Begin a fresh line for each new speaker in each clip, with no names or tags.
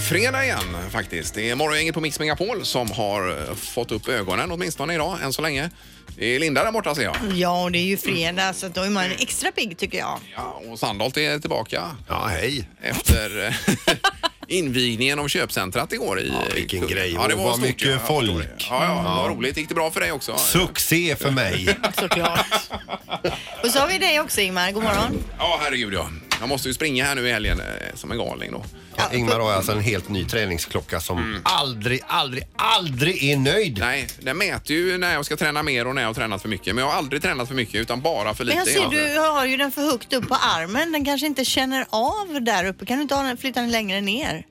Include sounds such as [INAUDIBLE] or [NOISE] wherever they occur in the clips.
fredag igen faktiskt. Det är Morgongänget på Mix Megapol som har eh, fått upp ögonen åtminstone idag än så länge. Det är Linda där borta ser jag.
Ja, och det är ju fredag så då är man extra pigg tycker jag.
Ja, och Sandholt är tillbaka
Ja, hej.
efter eh, [LAUGHS] invigningen av köpcentrat igår. I,
Ja, vilken grej.
Ja, det var
Vad
stort,
mycket
ja.
folk.
Ja, ja, vad roligt. Gick det bra för dig också?
Succé för mig.
[LAUGHS] Såklart. och så har vi dig också Ingmar, god morgon.
Ja, herregud ja. Jag måste ju springa här nu i helgen eh, som en galning då.
Ja, Ingmar har alltså en helt ny träningsklocka som aldrig, aldrig, aldrig är nöjd.
Mm. Nej, den mäter ju när jag ska träna mer och när jag har tränat för mycket. Men jag har aldrig tränat för mycket utan bara för
Men
lite.
jag ser du har ju den för högt upp på armen. Den kanske inte känner av där uppe. Kan du inte ha den, flytta den längre ner?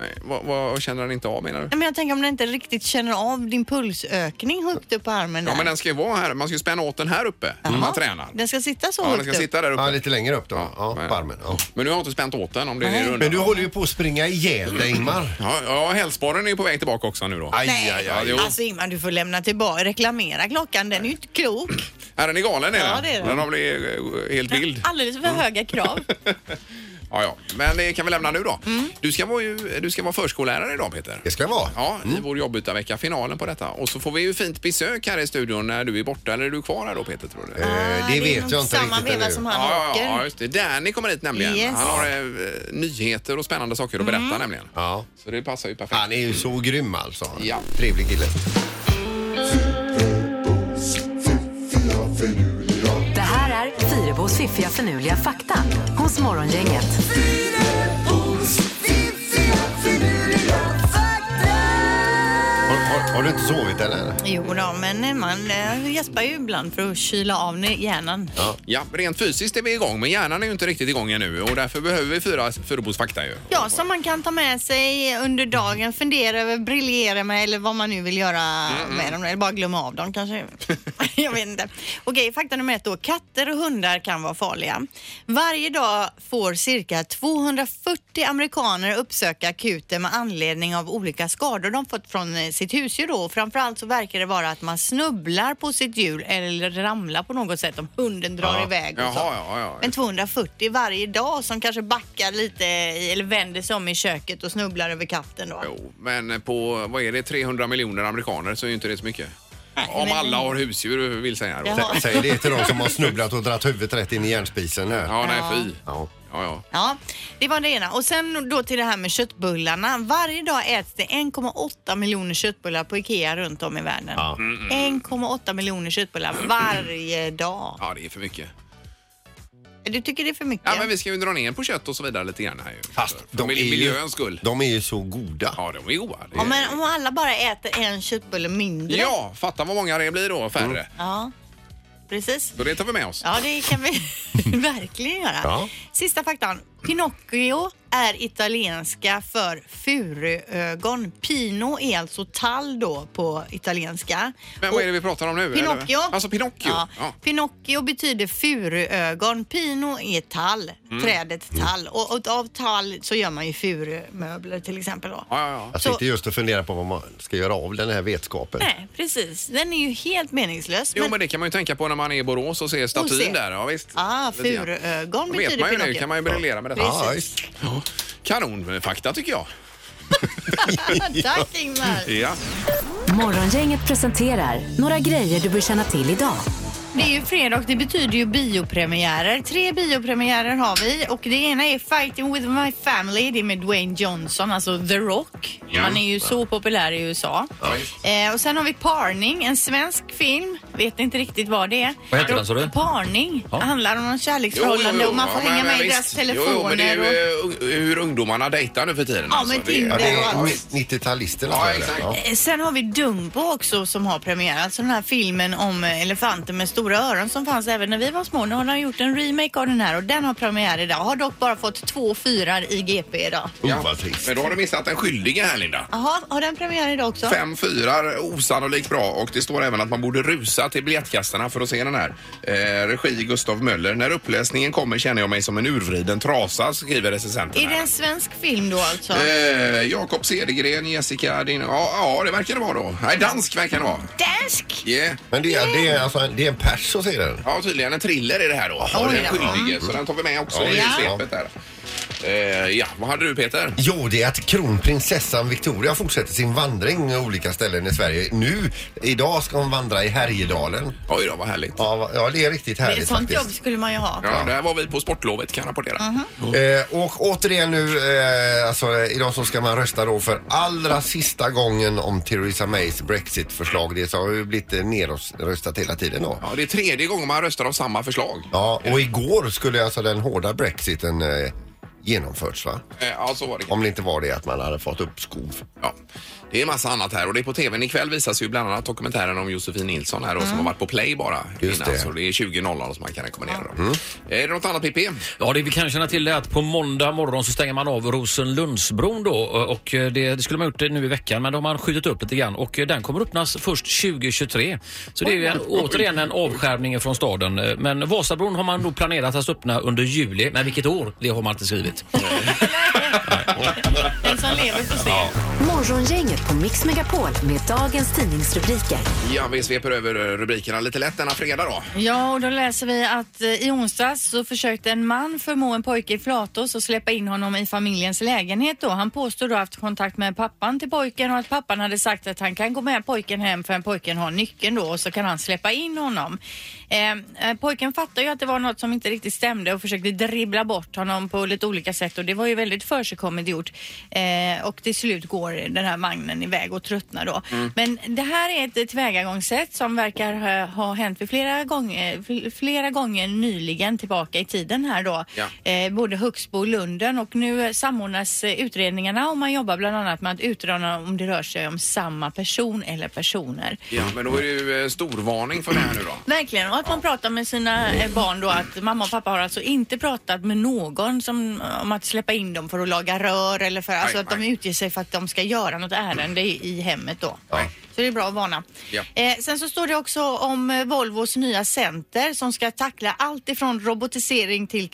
Nej, vad, vad känner den inte av menar du?
Nej, men jag tänker om den inte riktigt känner av din pulsökning högt upp på armen där.
Ja, men den ska ju vara här. Man ska ju spänna åt den här uppe när man tränar.
Den ska sitta så
Ja, den
högt
ska
upp.
sitta där uppe.
Ja, lite längre upp då. Ja,
men-
på armen. Ja.
Men nu har jag inte spänt åt den om det är det
Men
runda.
du håller ju på att springa ihjäl dig Ingmar.
Ja, ja hälsporren är ju på väg tillbaka också nu då.
Aj,
Nej.
aj,
Ja,
aj.
jo.
Alltså Ingmar, du får lämna tillbaka, reklamera klockan. Den är ju inte klok.
Är den är galen är
Ja,
den.
det är den.
Den har blivit eh, helt vild.
Alldeles för
[LAUGHS]
höga krav.
Ja, ja. Men det kan vi lämna nu då.
Mm.
Du, ska vara ju, du ska vara förskollärare idag Peter.
Det ska det vara.
Ja, i vår jobbytarvecka, finalen på detta. Och så får vi ju fint besök här i studion när du är borta. Eller är du kvar här då Peter tror du?
Eh, det vet
nog
jag inte
Samma
riktigt
veva
ännu.
som
Ja,
han
ja,
åker.
ja, just det. Danny kommer hit nämligen.
Yes. Mm.
Han har eh, nyheter och spännande saker att berätta nämligen.
Ja.
Så det passar ju perfekt.
Han är ju så grym alltså.
Ja.
Trevlig kille.
Det här är Fyrabos fiffiga förnuliga fakta hos Morgongänget.
Har, har, har du inte sovit eller?
Jo då, men man eh, gäspar ju ibland för att kyla av ner hjärnan. Ja.
Ja, rent fysiskt är vi igång, men hjärnan är ju inte riktigt igång ännu och därför behöver vi fyra Furubos-fakta ju.
som man kan ta med sig under dagen, fundera över, briljera med eller vad man nu vill göra med dem. Eller bara glömma av dem kanske. [LAUGHS] Jag vet inte. Okej, fakta nummer ett då. Katter och hundar kan vara farliga. Varje dag får cirka 240 amerikaner uppsöka akuten med anledning av olika skador de fått från eh, sitt husdjur då. Och Framförallt så verkar det vara att man snubblar på sitt djur eller ramlar på något sätt om hunden drar iväg och
Jaha,
så.
ja, ja.
Men 240 varje dag som kanske backar lite i, eller vänder sig om i köket och snubblar över katten då.
Jo, men på, vad är det, 300 miljoner amerikaner så är ju inte det så mycket.
Nej,
Om
men-
alla har husdjur vill säga då.
Jaha.
Sä, säg det till de som har snubblat och dragit huvudet rätt in i järnspisen här.
Ja, nej
Ja.
fy.
Ja.
Ja, ja.
Ja, det var det ena. Och sen då till det här med köttbullarna. Varje dag äts det 1,8 miljoner köttbullar på IKEA runt om i världen. 1,8 miljoner köttbullar varje dag.
Ja, det är för mycket.
Du tycker det är för mycket?
Ja, men vi ska ju dra ner på kött och så vidare lite grann här ju.
Fast
För
de är ju-
miljöns skull.
De är ju så goda.
Ja, de är goda. Det-
Ja, men om alla bara äter en köttbulle mindre.
Ja, fatta vad många det blir då, färre.
ja precis.
Så det tar vi med oss.
Mm. Ja, det kan vi [LAUGHS] verkligen göra.
Ja.
Sista faktan. Pinocchio är italienska för furuögon. Pino är alltså tall då på italienska.
Men vad är det vi pratar om nu? eller?
Pinocchio.
Alltså Pinocchio.
Ja.
Ja.
Pinocchio betyder furuögon. Pino är tall,
Mm.
trädet tall. Och, och av tall så gör man ju furumöbler till exempel. Då.
Ja, ja, ja.
Jag sitter
Så-
Alltså, just och funderar på vad man ska göra av den här vetskapen.
Nej, precis. Den är ju helt meningslös.
Jo, men det kan man ju tänka på när man är i Borås och ser statyn
se.
där. Ja, visst.
Ah,
Lite grann.
furuögon
Då vet
betyder
man ju nu,
Pinocchio.
kan man ju briljera med detta.
Precis.
Ah, Ja, visst.
Ja. Kanonfakta tycker jag.
[LAUGHS] Tack Ingmar!
Ja.
Morgongänget presenterar några grejer du bör känna till idag.
Det är ju fredag och det betyder ju biopremiärer. Tre biopremiärer har vi och det ena är Fighting with my family. Det är med Dwayne Johnson, alltså The Rock.
Ja.
Han är ju så populär i USA. Eh, och sen har vi Parning, en svensk film. Vet inte riktigt vad det är.
Vad heter den, sa du?
Parning. Handlar om någon kärleksförhållande och man får
ja,
hänga
men,
med i
visst.
deras
Jo, jo, men det
telefoner.
är
och...
ju eh, ung- hur ungdomarna dejtar nu för tiden.
Ja,
alltså.
men
Det är-
Ja, det
Tinder
är
och allt.
90-talisterna
Ja,
tror jag det
exakt.
är. Ja.
Eh, Sen har vi Dumbo också som har premiär. Alltså den här filmen om eh, elefanten med stora öron som fanns även när vi var små. Nu har de gjort en remake av den här och den har premiär idag. Har dock bara fått två fyrar i GP idag.
Oh, vad trist.
Men då har du missat den skyldige här, Linda.
Jaha, har den premiär idag också?
Fem fyrar, osannolikt bra. Och det står även att man borde rusa till biljettkassorna för att se den här. Eh, regi Gustav Möller. När uppläsningen kommer känner jag mig som en urvriden trasa, skriver recensenten.
Är det
här.
en svensk film då alltså?
Eh, Jakob Cedergren, Jessica Din... Ja, ja, det verkar det vara då. Nej, dansk verkar det vara.
Dansk!
Yeah.
Men det är, det är, alltså, en- det är en pers som säger den.
Ja, tydligen en thriller är det här då. Och den
ja.
skyldige, så den tar vi med också
Ja,
i
ja.
svepet där. Eh, ja, vad hade du Peter?
Jo, det är att kronprinsessan Victoria fortsätter sin vandring i olika ställen i Sverige. Nu, idag ska hon vandra i Härjedalen.
Oj då, vad härligt.
Ja, va- ja det är riktigt
Det är
härligt
sånt jobb
faktiskt.
skulle man ju ha.
Ja, där var vi på sportlovet kan jag rapportera.
Mm.
Eh, och återigen nu, eh, alltså, eh, idag så ska man rösta då för allra sista gången om Theresa Mays Brexit-förslag. Det har ju blivit eh, nedröstat hela tiden då.
Ja, det är tredje gången man röstar om samma förslag.
Ja, och igår skulle alltså den hårda Brexiten eh, genomförts va?
Eh, ja, så var det.
Om det inte var det att man hade fått uppskov.
Ja, det är massa annat här och det är på tvn ikväll visas ju bland annat dokumentären om Josefin Nilsson här och som har varit på play bara
Just
innan.
det. Mm.
Så det är 20.00 som man kan rekommendera. dem. Är det något annat Pippi?
Ja, det vi kan känna till är att på måndag morgon så stänger man av Rosenlundsbron då och eh, det, det skulle man ha gjort nu i veckan men de har man skjutit upp lite grann och eh, den kommer öppnas först 2023. Så det är ju en, återigen en avskärmning från staden. Eh, Men Vasabron har man nog planerat att öppna under juli, men vilket år? Det har man inte skrivit.
Den som lever får se.
Morgongänget på Mix Megapol med dagens tidningsrubriker.
Ja, vi sveper över eh, rubrikerna lite lätt denna fredag då.
Ja, och då läser vi att eh, i onsdags så försökte en man förmå en pojke i Flatås att släppa in honom i familjens lägenhet då. Han påstod då ha haft kontakt med pappan till pojken och att pappan hade sagt att han kan gå med pojken hem för pojken har nyckeln då och så kan han släppa in honom. Eh, eh, pojken fattade ju att det var något som inte riktigt stämde och försökte dribbla bort honom på lite olika sätt och det var ju väldigt försigkommet gjort. Eh, och till slut går den här vagnen iväg och tröttnar då. Men det här är ett tillvägagångssätt som verkar ha, ha hänt vid flera gånger, fl- flera gånger nyligen tillbaka i tiden här då.
Ja.
Eh, både Högsbo och Lunden och nu eh, samordnas eh, utredningarna och man jobbar bland annat med att utröna om det rör sig om samma person eller personer.
Ja, men då är det ju eh, storvarning för det här nu då.
Verkligen, och att man pratar med sina eh, barn då att mamma och pappa har alltså inte pratat med någon som, om att släppa in dem för att laga rör eller för alltså
Nej,
att de
nej.
utger sig för att de ska göra något ärende i, i hemmet då.
Nej.
Så det är bra att varna.
Ja.
Eh, sen så står det också om eh, Volvos nya center som ska tackla allt ifrån robotisering till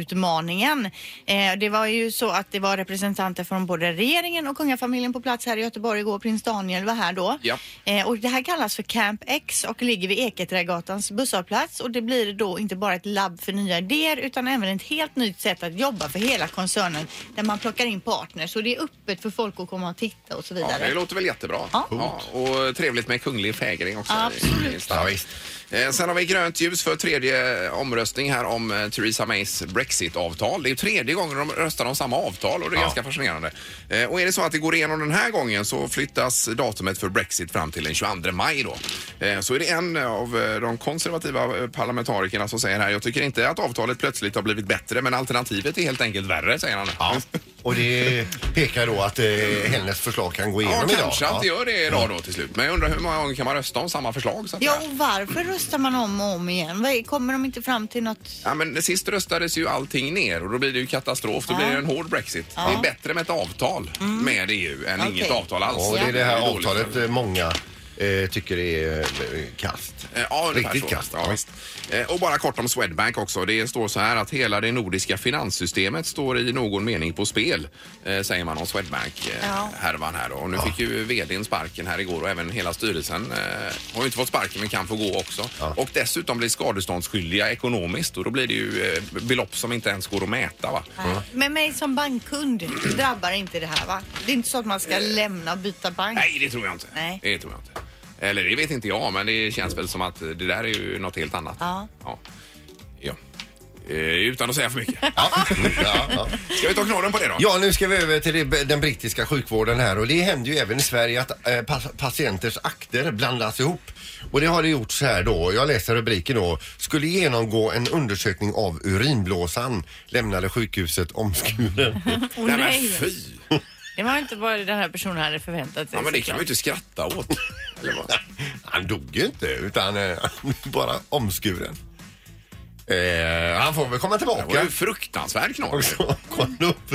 klimatutmaningen. Eh, det var ju så att det var representanter från både regeringen och kungafamiljen på plats här i Göteborg igår. Prins Daniel var här då.
Ja.
Eh, och det här kallas för Camp X och ligger vid Eketrädgatans busshållplats och det blir då inte bara ett labb för nya idéer utan även ett helt nytt sätt att jobba för hela koncernen där man plockar in partners och det är öppet för folk att komma och titta och så
Ja,
vidare.
det låter väl jättebra.
Ja.
och trevligt med kunglig fägring också.
Absolut.
I, i stan.
Ja, visst.
Eh, Sen har vi grönt ljus för tredje omröstning här om eh, Theresa Mays Brexit-avtal. Det är ju tredje gången de röstar om samma avtal och det är ganska fascinerande. Eh, Och är det så att det går igenom den här gången så flyttas datumet för Brexit fram till den 22 maj då. Eh, Så är det en av eh, de konservativa eh, parlamentarikerna som säger här, jag tycker inte att avtalet plötsligt har blivit bättre men alternativet är helt enkelt värre, säger han.
Ja. Och det pekar då att eh, hennes förslag kan gå
Ja,
igenom idag.
kanske att det
ja.
gör det idag då till slut. Men jag undrar hur många gånger kan man rösta om samma förslag? Så att
Ja,
säga?
och varför röstar man om och om igen? Vad är- Kommer de inte fram till något?
Ja, men sist röstades ju allting ner och då blir det ju katastrof. Då blir det en hård Brexit. Det är bättre med ett avtal med EU än
Mm. Okej.
inget avtal alls.
Ja, och det är det här
dåligt.
avtalet eh, många eh, tycker är eh, kast.
Eh, Ja, ungefär
Riktigt
så.
kast.
Ja, visst. Eh, Och bara kort om Swedbank också. Det står så här att hela det nordiska finanssystemet står i någon mening på spel, eh, säger man om
Ja.
Swedbank-härvan här. då. Och nu fick ju vdn sparken här igår och även hela styrelsen eh, har ju inte fått sparken men kan få gå också. Och dessutom blir skadeståndsskyldiga ekonomiskt och då blir det ju eh, belopp som inte ens går att mäta. Va?
Men mig som bankkund drabbar inte det här va? Det är inte så att man ska lämna och byta bank.
Eh. Nej, det tror jag inte.
Nej.
Det tror jag inte. Eller det vet inte jag, men det känns väl som att det där är ju något helt annat.
Ja.
ja. Ja. Eh, utan att säga för
[LAUGHS]
mycket.
Ja. [LAUGHS] Mm, ja, ja.
Ska vi ta knorren på det då?
Ja, nu ska vi över till det- den brittiska sjukvården här och det händer ju även i Sverige att eh, pa- patienters akter blandas ihop. Och det har det gjorts här då. Jag läser rubriken då. Skulle genomgå en undersökning av urinblåsan. Lämnade
[LAUGHS]
sjukhuset omskuren.
Nej,
Åh,
men
nej.
fy!
Det var inte vad den här personen hade förväntat sig.
Ja, men det kan
såklart.
man ju inte skratta åt. Eller vad?
Han dog ju inte utan eh, [LAUGHS] bara omskuren. Eh, han får väl komma
Det var
tillbaka.
ju fruktansvärd knorr.
Och så [LAUGHS] kom det upp.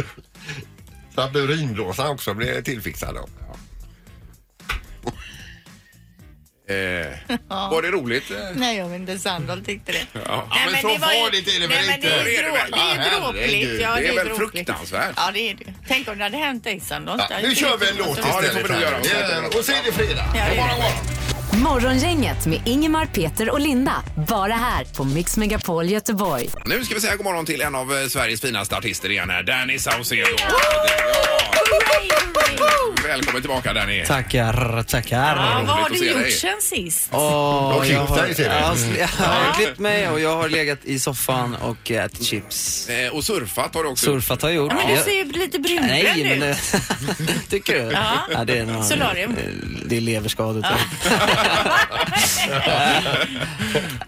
Så att urinblåsan också blev tillfixad då.
Eh, var det roligt? Eh,
Nej, jag vet inte. Sandal tyckte det.
Ja,
Nej,
men så farligt är det väl
nej, men
inte?
det är
Det är det
drå-
väl?
Det är ju dråpligt.
Ja, herregud.
Ja,
Det är väl
dråpligt.
fruktansvärt.
Ja, det är det. Tänk om det hade hänt dig, Sandal.
Ja, nu kör vi en låt
Ja, det får
istället.
vi nog
här.
göra.
Det är- Och så är det fredag.
Ja, det är det.
Morgongänget med Ingemar, Peter och Linda. Bara här på Mix Megapol Göteborg.
Nu ska vi säga god morgon till en av eh, Sveriges finaste artister igen här, Danny Saucedo. Ja. Välkommen tillbaka Danny.
Tackar,
Ja,
tackar.
roligt
Vad har
att
du
se dig.
gjort sen sist?
Åh,
Du har klippt
jag har-
dig, ser vi.
jag har sli- Jag har klippt mig och jag har legat i soffan och ätit chips.
Eh, Och surfat har du också gjort.
Surfat har jag gjort.
Men du
Jag-
ser ju lite
Nej,
brunbränd
men...
ut.
eh, [LAUGHS] Tycker du?
Ja.
det är någon,
Solarium.
eh, Det är leverskador. tror jag.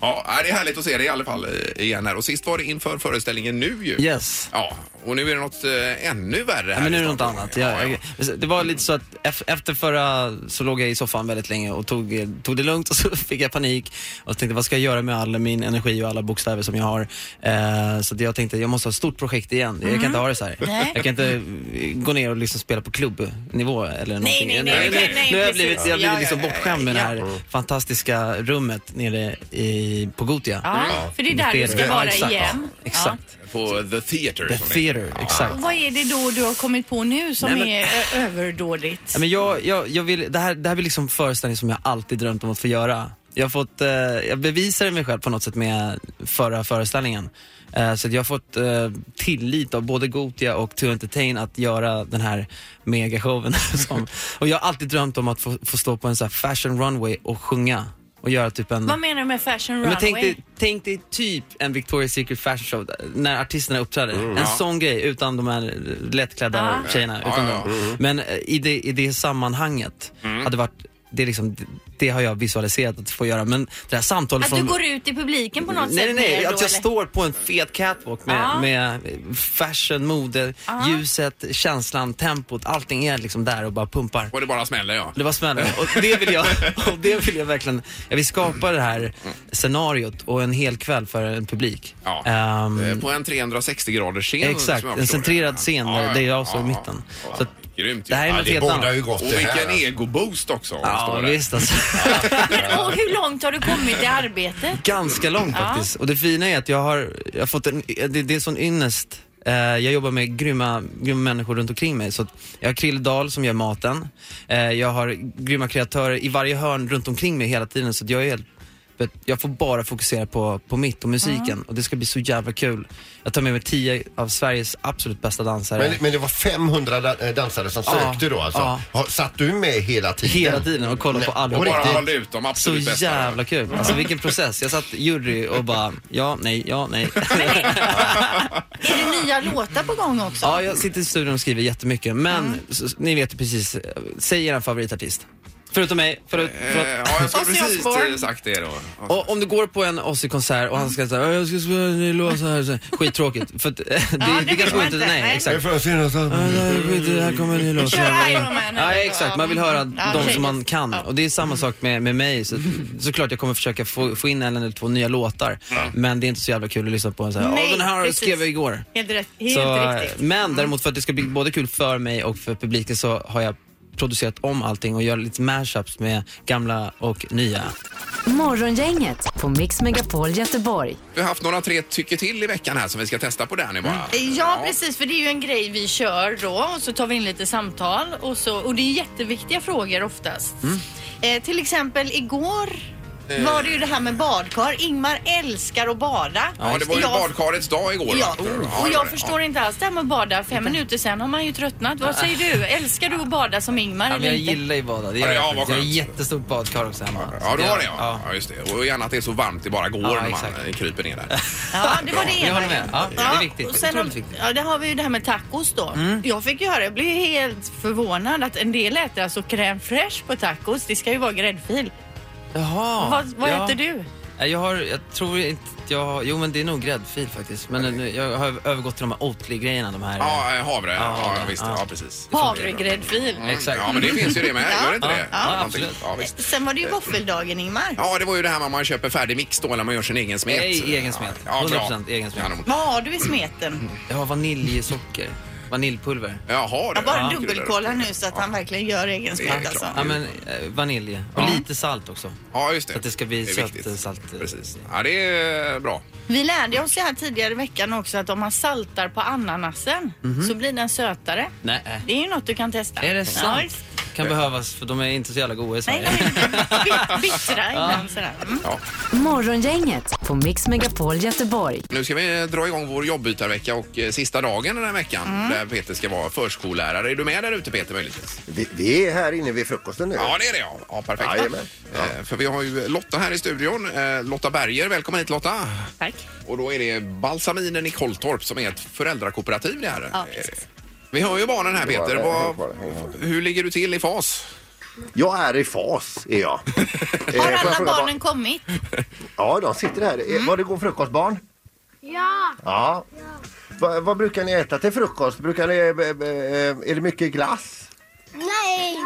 Ja, nej, det är härligt att se dig i alla fall eh, igen här. Och sist var det inför föreställningen nu ju.
Yes.
Ja, och nu är det något eh, ännu värre här.
Nej, men nu är
i
det något
Stockholm.
annat. Jag, jag, det var lite så att ef- efter förra så låg jag i soffan väldigt länge och tog, tog det lugnt [LAUGHS] och så fick jag panik och tänkte vad ska jag göra med all min energi och alla bokstäver som jag har. Eh, så att jag tänkte jag måste ha ett stort projekt igen. Jag kan inte ha det så här.
Mm. Nej.
Jag kan inte eh, gå ner och liksom spela på klubbnivå eller någonting.
nej, nej,
Nu-
nej,
nu-
nej, nej,
Nu har jag
precis.
blivit, jag har
Ja,
blivit
ja,
liksom
ja,
bortskämd med det
ja.
här fantastiska rummet nere i, på Gotia.
Ja, för det är där du ska
Ja,
vara
exakt.
igen.
Exakt.
På The Theatre.
The
som det
Theater, exakt.
Ja. [LAUGHS] Vad är det då du har kommit på nu som
Nej, men-
är ö- överdådigt?
Ja, men jag, jag, jag vill, det, här, det här blir liksom föreställning som jag alltid drömt om att få göra. Jag, har fått, eh, jag bevisade mig själv på något sätt med förra föreställningen. Eh, så att jag har fått eh, tillit av både Gotia och To Entertain att göra den här megashowen. [LAUGHS] som, och jag har alltid drömt om att få, få stå på en sån här fashion runway och sjunga. Och göra typ en...
Vad menar du med fashion
Ja,
runway?
Men tänk, dig, tänk dig typ en Victoria's Secret fashion show där- när artisterna uppträder.
Mm.
en sån grej utan de här lättklädda
Ja.
tjejerna.
Ja,
Utan
ja, Mm. ja.
dem. Men eh, i det, i det sammanhanget hade varit det, är liksom, det har jag visualiserat att få göra. Men det här samtalet
Att
från...
du går ut i publiken på något
Nej, nej,
sätt?
nej.
mer
Att
då,
jag
eller?
står på en fet catwalk med,
Ja.
med fashion, mode, ljuset, känslan, tempot. Allting är liksom där och bara pumpar.
Och det bara smäller ja.
Det var smäller. Och det
[LAUGHS]
vill jag, och det vill jag verkligen. Jag vill skapa det här scenariot och en hel kväll för en publik.
Ja.
Ehm,
Eh, På en 360 graders scen.
exakt,
som jag
en
förstår
centrerad
det.
scen
Ja, ja,
där, där jag
ja,
står i
ja.
mitten.
Ja,
Så att
Grymt ju.
det här är
Ja,
något
Det
helt
bådar ju
annat.
gott
Och
det här.
vilken
alltså.
egoboost också. att stå
Ja,
där.
visst alltså.
Men, och hur långt har du kommit i arbetet?
Ganska långt faktiskt. Och det fina är att jag har, jag har fått en, det, det är sån ynnest. Eh, jag jobbar med grymma, grymma människor runt omkring mig. Så att jag har Krill Dahl som gör maten. Eh, jag har grymma kreatörer i varje hörn runt omkring mig hela tiden. Så att jag är helt för att jag får bara fokusera på, på mitt och musiken och det ska bli så jävla kul. Jag tar med mig tio av Sveriges absolut bästa dansare.
Men, men det var 500 da- eh, dansare som
Ja.
sökte då alltså.
Ja.
Har- Satt du med hela tiden?
Hela tiden och kolla på
Nej,
alla.
Och bara
riktigt.
hålla ut de
Så
absolut bästa.
jävla kul. Alltså vilken process. Jag satt i jury och bara, ja, nej, ja, nej. [LAUGHS]
Men är, är det nya låtar på gång också?
Ja, jag sitter i studion och skriver jättemycket, men så, ni vet ju precis. eh, Säg er favoritartist. Förutom mig, förut, förlåt.
Eh, Ja, jag skulle
Ozzy
precis
Osbourne.
eh, sagt det då.
Och om du går på en Ozzy-konsert och han ska säga jag ska spela en ny låt så här, så här. skittråkigt. För att, [LAUGHS] eh, det, det,
vill
kanske
man
går inte,
inte,
nej,
nej. Mm.
exakt.
Det får jag se något annat.
Ja, det här är skit, det här kommer en ny låt.
Kör Iron Man
Ja,
eller-
exakt. Man vill höra
Ja,
de
precis.
som man kan. Och det är samma sak med, med mig. Så, såklart jag kommer försöka få, få in en eller två nya låtar. Men det är inte så jävla kul att lyssna på en så här,
Nej,
"Ja, den här
precis.
skrev jag igår.
Helt rätt. Helt
Så, eh,
riktigt. Mm.
men däremot för att det ska bli både kul för mig och för publiken så har jag producerat om allting och gör lite mashups med gamla och nya.
Morgongänget på Mix Megapol Göteborg.
Vi har haft några tre tycker till i veckan här som vi ska testa på Danny bara.
Ja, precis. För det är ju en grej vi kör då och så tar vi in lite samtal och, så, och det är jätteviktiga frågor oftast.
Mm.
Eh, till exempel igår var det ju det här med badkar. Ingmar älskar att bada.
Ja, det var ju
jag,
badkarets dag igår.
Ja, Oh.
va? Ja,
Och
det var
jag
det.
förstår inte alls det här med att bada. Fem minuter sen har man ju tröttnat. Vad säger du? Älskar du att bada som Ingmar
Ja, men
eller
jag
inte?
gillar ju bada.
Ja,
Det gör
det-
jag
ja,
faktiskt.
vad
jag har
skönt.
jättestort badkar också hemma.
Ja,
Så
då var det ja.
ja.
ja. just det. Och gärna att det är så varmt det bara går
Ja,
när man
exakt.
eh, kryper ner
[LAUGHS]
där.
Ja, det var det
Jag
ena.
håller med. Ja, det är viktigt.
Och sen har,
Otroligt viktigt. Mm.
ja, det har vi ju det här med tacos då. Jag fick göra, jag blev helt förvånad att en del äter alltså crème fraîche på tacos. Det ska ju vara gräddfil.
Jaha.
Vad, vad
ja.
äter du?
Nej, Jag har, jag tror inte att jag har, jo men det är nog gräddfil faktiskt. Men nu, jag har övergått till de här Oatly-grejerna, de här.
Ja, eh, havre. Ja,
Ja,
visst.
ja.
Ja, precis.
Havregräddfil.
Mm,
Exakt.
Ja, men det finns ju det med. Gör det inte det?
ja,
Någonting.
absolut.
Ja, visst.
Eh, Sen var det ju våffeldagen Ingmar.
Ja, det var ju det här med att man köper färdig mix då eller man gör sin egen smet.
Nej, egen smet. 100% egen smet.
Kanon.
Vad har du i smeten?
Jag har vaniljsocker, vaniljpulver.
Jaha, du.
Jag bara
Ja.
dubbelkollar nu så att han verkligen gör egen
Det är
smet alltså.
klart.
Ja men eh, vanilj och lite salt också.
Ja, just det.
Så att det ska bli
är
sött,
viktigt.
salt. eh.
Precis. Ja, det är eh, bra.
Vi lärde oss det här tidigare i veckan också att om man saltar på ananasen så blir den sötare.
Nej.
Det är ju något du kan testa.
Mhm. Är det sant?
visst.
kan behövas för de är inte så jävla goda i
Nej,
Sverige.
de är lite bit- bittra ibland sådär. Mm.
Morgongänget på Mix Megapol Göteborg.
Nu ska vi dra igång vår jobbytarvecka och eh, sista dagen den här veckan
Mm.
där Peter ska vara förskollärare. Är du med där ute Peter möjligtvis?
Vi, vi är här inne vid frukosten nu.
Ja, det är det ja. Ja, perfekt.
Jajamän.
Eh, För vi har ju Lotta här i studion. Eh, Lotta Berger, välkommen hit Lotta.
Tack.
Och då är det Balsaminen i Kolltorp som är ett föräldrakooperativ det här.
Ja,
Är det. vi har ju barnen här Peter.
det, häng
Vad,
kvar, häng kvar.
hur ligger du till i fas? [LAUGHS]
Jag är i fas, är jag. Eh, får
Har
jag
alla
fråga vad-
barnen kommit?
Ja, de sitter här. Mm. Var det god frukost, barn? Ja. ja. Va, vad brukar ni äta till frukost? Brukar ni, eh, eh, är det mycket glass?
Nej!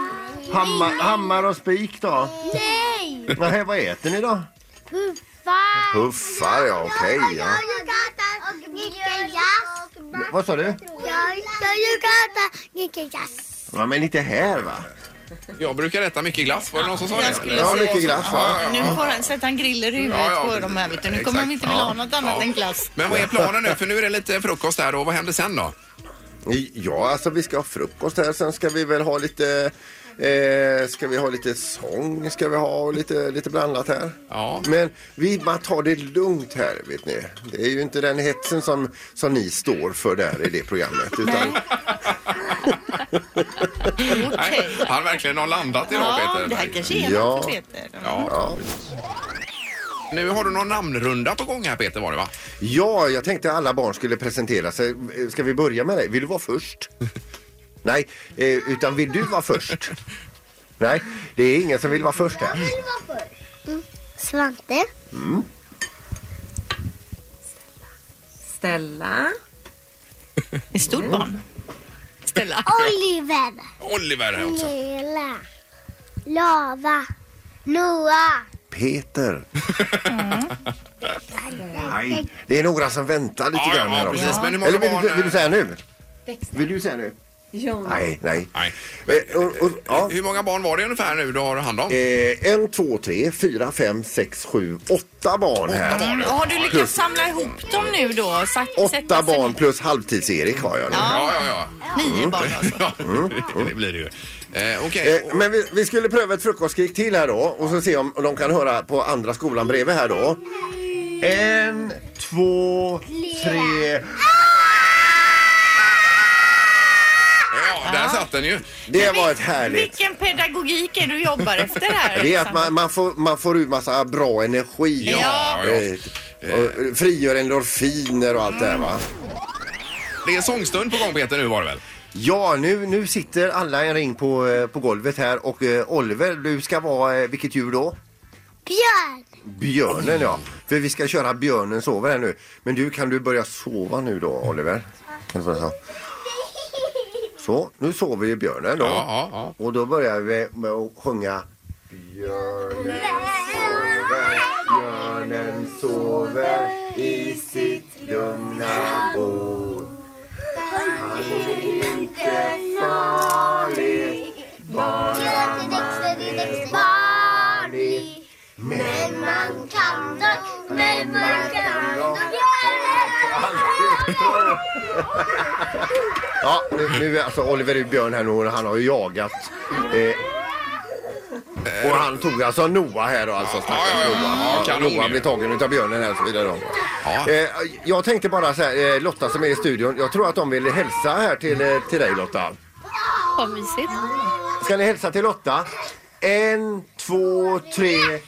Hammar, hammar och spik då?
Nej!
Nej, vad äter ni då?
Puffar!
Puffar, ja okej. ja.
och dricker jazz.
Vad sa du?
Jag gillar gata och dricker jazz.
Ja, men inte här va?
Jag brukar äta mycket glass. Var det någon som sa
Jag
det?
skulle
Ja,
säga
mycket
så.
glass va?
Nu får han sätta en grill i huvudet
Ja, ja,
på dem här. Vet du. Nu
exakt.
kommer de inte vilja
Ja.
ha något annat
Ja.
än glass.
Men vad är planen nu? För nu är det lite frukost där och vad händer sen då?
Ja, alltså vi ska ha frukost här. Sen ska vi väl ha lite... Eh, ska vi ha lite sång? Ska vi ha och lite, lite blandat här?
Ja.
Men vi, man tar det lugnt här, vet ni. Det är ju inte den hetsen som, som ni står för där i det programmet. Utan,
Nej, han verkligen har landat idag
Ja,
Peter.
det här kanske är
Ja.
något för Peter.
Ja.
ja.
Nu har du någon namnrunda på gång här Peter var det va?
ja, jag tänkte alla barn skulle presentera sig. Ska vi börja med dig? Vill du vara först? Nej, eh, utan vill du vara först? Nej, det är ingen som vill vara först här.
Mm. Svante.
Stella.
Ett stort barn. Stella.
Oliver.
Oliver här också.
Nela. Lava. Noah.
Peter. Nej, det är några som väntar lite
Ja, ja,
grann här
ja,
också.
precis. Men hur många
Eller vill du,
barn- eh,
vill du säga nu? Vill du säga nu? Nej, nej.
Nej.
Eh, Och, och, ja.
Hur många barn var det ungefär nu du har hand om?
Eh, en, två, tre, fyra, fem, sex, sju, åtta barn här.
Och Har du lyckats samla ihop dem nu då? Sagt,
Åtta barn plus halvtids-Erik har jag nu.
Ja, ja, ja. Mm.
Nio barn alltså.
ja. Det blir det ju. Eh, Okej,
Eh, men vi, vi skulle pröva ett frukostskrik till här då och så se om de kan höra på andra skolan bredvid här då. En, två, tre.
ja, där satt den ju.
Det var ett härligt.
Vilken pedagogik är du jobbar efter
[LAUGHS]
här?
Det är
liksom?
att man, man, får, man får ut massa bra energi.
Ja, ja.
Eh, Och frigör endorfiner och allt det här va.
Det är sångstund på gång Peter nu var det väl?
Ja, nu, nu sitter alla en ring på, eh, på golvet här och eh, Oliver, du ska vara eh, vilket djur då?
Björn.
Björnen ja. För vi ska köra björnen sover här nu. Men du, kan du börja sova nu då Oliver? Kan du börja sova? Så, nu sover ju björnen då.
Ja, ja, ja.
Och då börjar vi med att sjunga Björnen sover, björnen sover i sitt lugna bo. Han är inte farlig, bara
Barnlig. Men man kan dock, men man kan dock.
Ja, nu, nu är alltså Oliver är björn här nu och han har ju jagat. Eh, och han tog alltså Noah här då alltså. stackars
ja, ja. Ja,
Noah. Ja,
kanon ju.
Noah blev tagen utav björnen här och så vidare då.
Ja.
Eh, jag tänkte bara så här, eh, Lotta som är i studion, jag tror att de vill hälsa här till, eh, till dig Lotta.
Vad mysigt.
Ska ni hälsa till Lotta? En, två, tre. Hej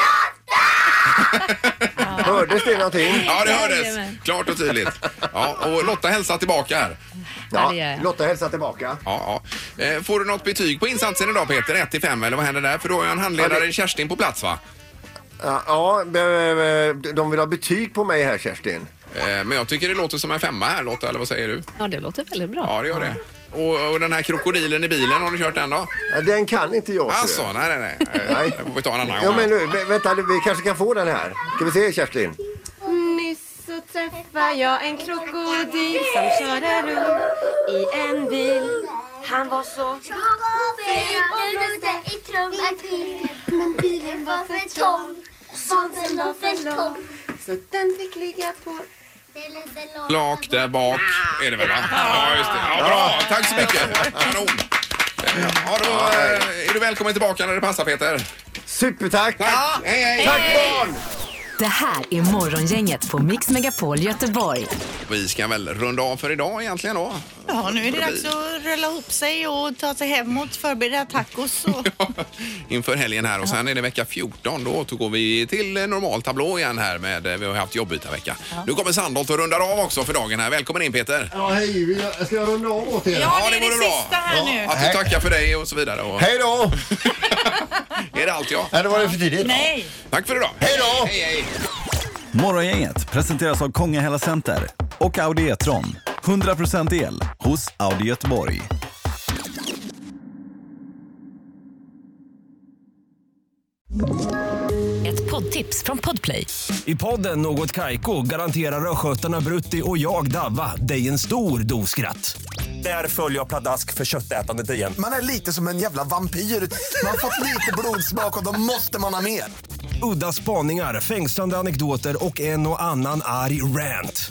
Lotta! [LAUGHS] Hördes det någonting?
Ja, det hördes. Klart och tydligt. Ja, och Lotta hälsar tillbaka här.
Ja,
det gör jag.
Lotta hälsa tillbaka.
Ja, ja. Eh, Får du något betyg på insatsen idag Peter? 1 till 5 eller vad händer där? För då har jag en handledare
Ja, det-
Kerstin på plats va?
Ja, Ja, be- be- be- de vill ha betyg på mig här Kerstin.
Eh, Men jag tycker det låter som en femma här Lotta, eller vad säger du?
Ja, det låter väldigt bra.
Ja, det gör det. Och, och den här krokodilen i bilen, har du kört den då?
Ja, Den kan inte jag. ser du.
Alltså, nej, nej, nej. Eh,
Nej.
Det får vi ta en annan
Ja,
gång.
men nu, vä- vänta, vi kanske kan få den här. Ska vi se Kerstin?
Nyss så träffade jag en krokodil som körde runt i en bil. Han var så...
Fiken rösta i trumman Men bilen var för tom. Svansen var för tom.
Så den fick ligga på...
Lak där bak är det väl va? Ja, just det. Ja, bra. Tack så mycket. Kanon. Ja, då eh, är du välkommen tillbaka när det passar Peter.
Supertack!
Tack! Hej, hej!
Tack barn!
Det här är Morgongänget på Mix Megapol Göteborg.
Vi ska väl runda av för idag egentligen då. [LAUGHS]
Ja, nu är det dags att rulla ihop sig och ta sig hemåt, förbereda
[LAUGHS]
tacos och...
Inför helgen här och sen är det vecka 14. Då återgår vi till eh, normal tablå igen här med, eh, vi har haft jobbytarvecka. Nu kommer Sandholt och rundar av också för dagen här. Välkommen in Peter!
Ja, hej. Vill jag- Ska jag runda av åt er?
Ja, det
det
är det
vore bra.
sista här nu.
Att du tackar för dig och så vidare. Och
Hej då!
är det allt jag?
Nej, det var det för tidigt.
Nej.
Tack för idag!
Hej då!
Hej, hej!
Morgongänget presenteras av Kongahälla Center och Audi E-tron. 100% el hos Audi Göteborg.
Ett poddtips från Podplay.
I podden Något Kaiko garanterar östgötarna Brutti och jag, Davva, dig en stor dos skratt. Där följer jag pladask för köttätandet igen.
Man är lite som en jävla vampyr. Man har fått lite blodsmak och då måste man ha mer.
Udda spaningar, fängslande anekdoter och en och annan arg rant.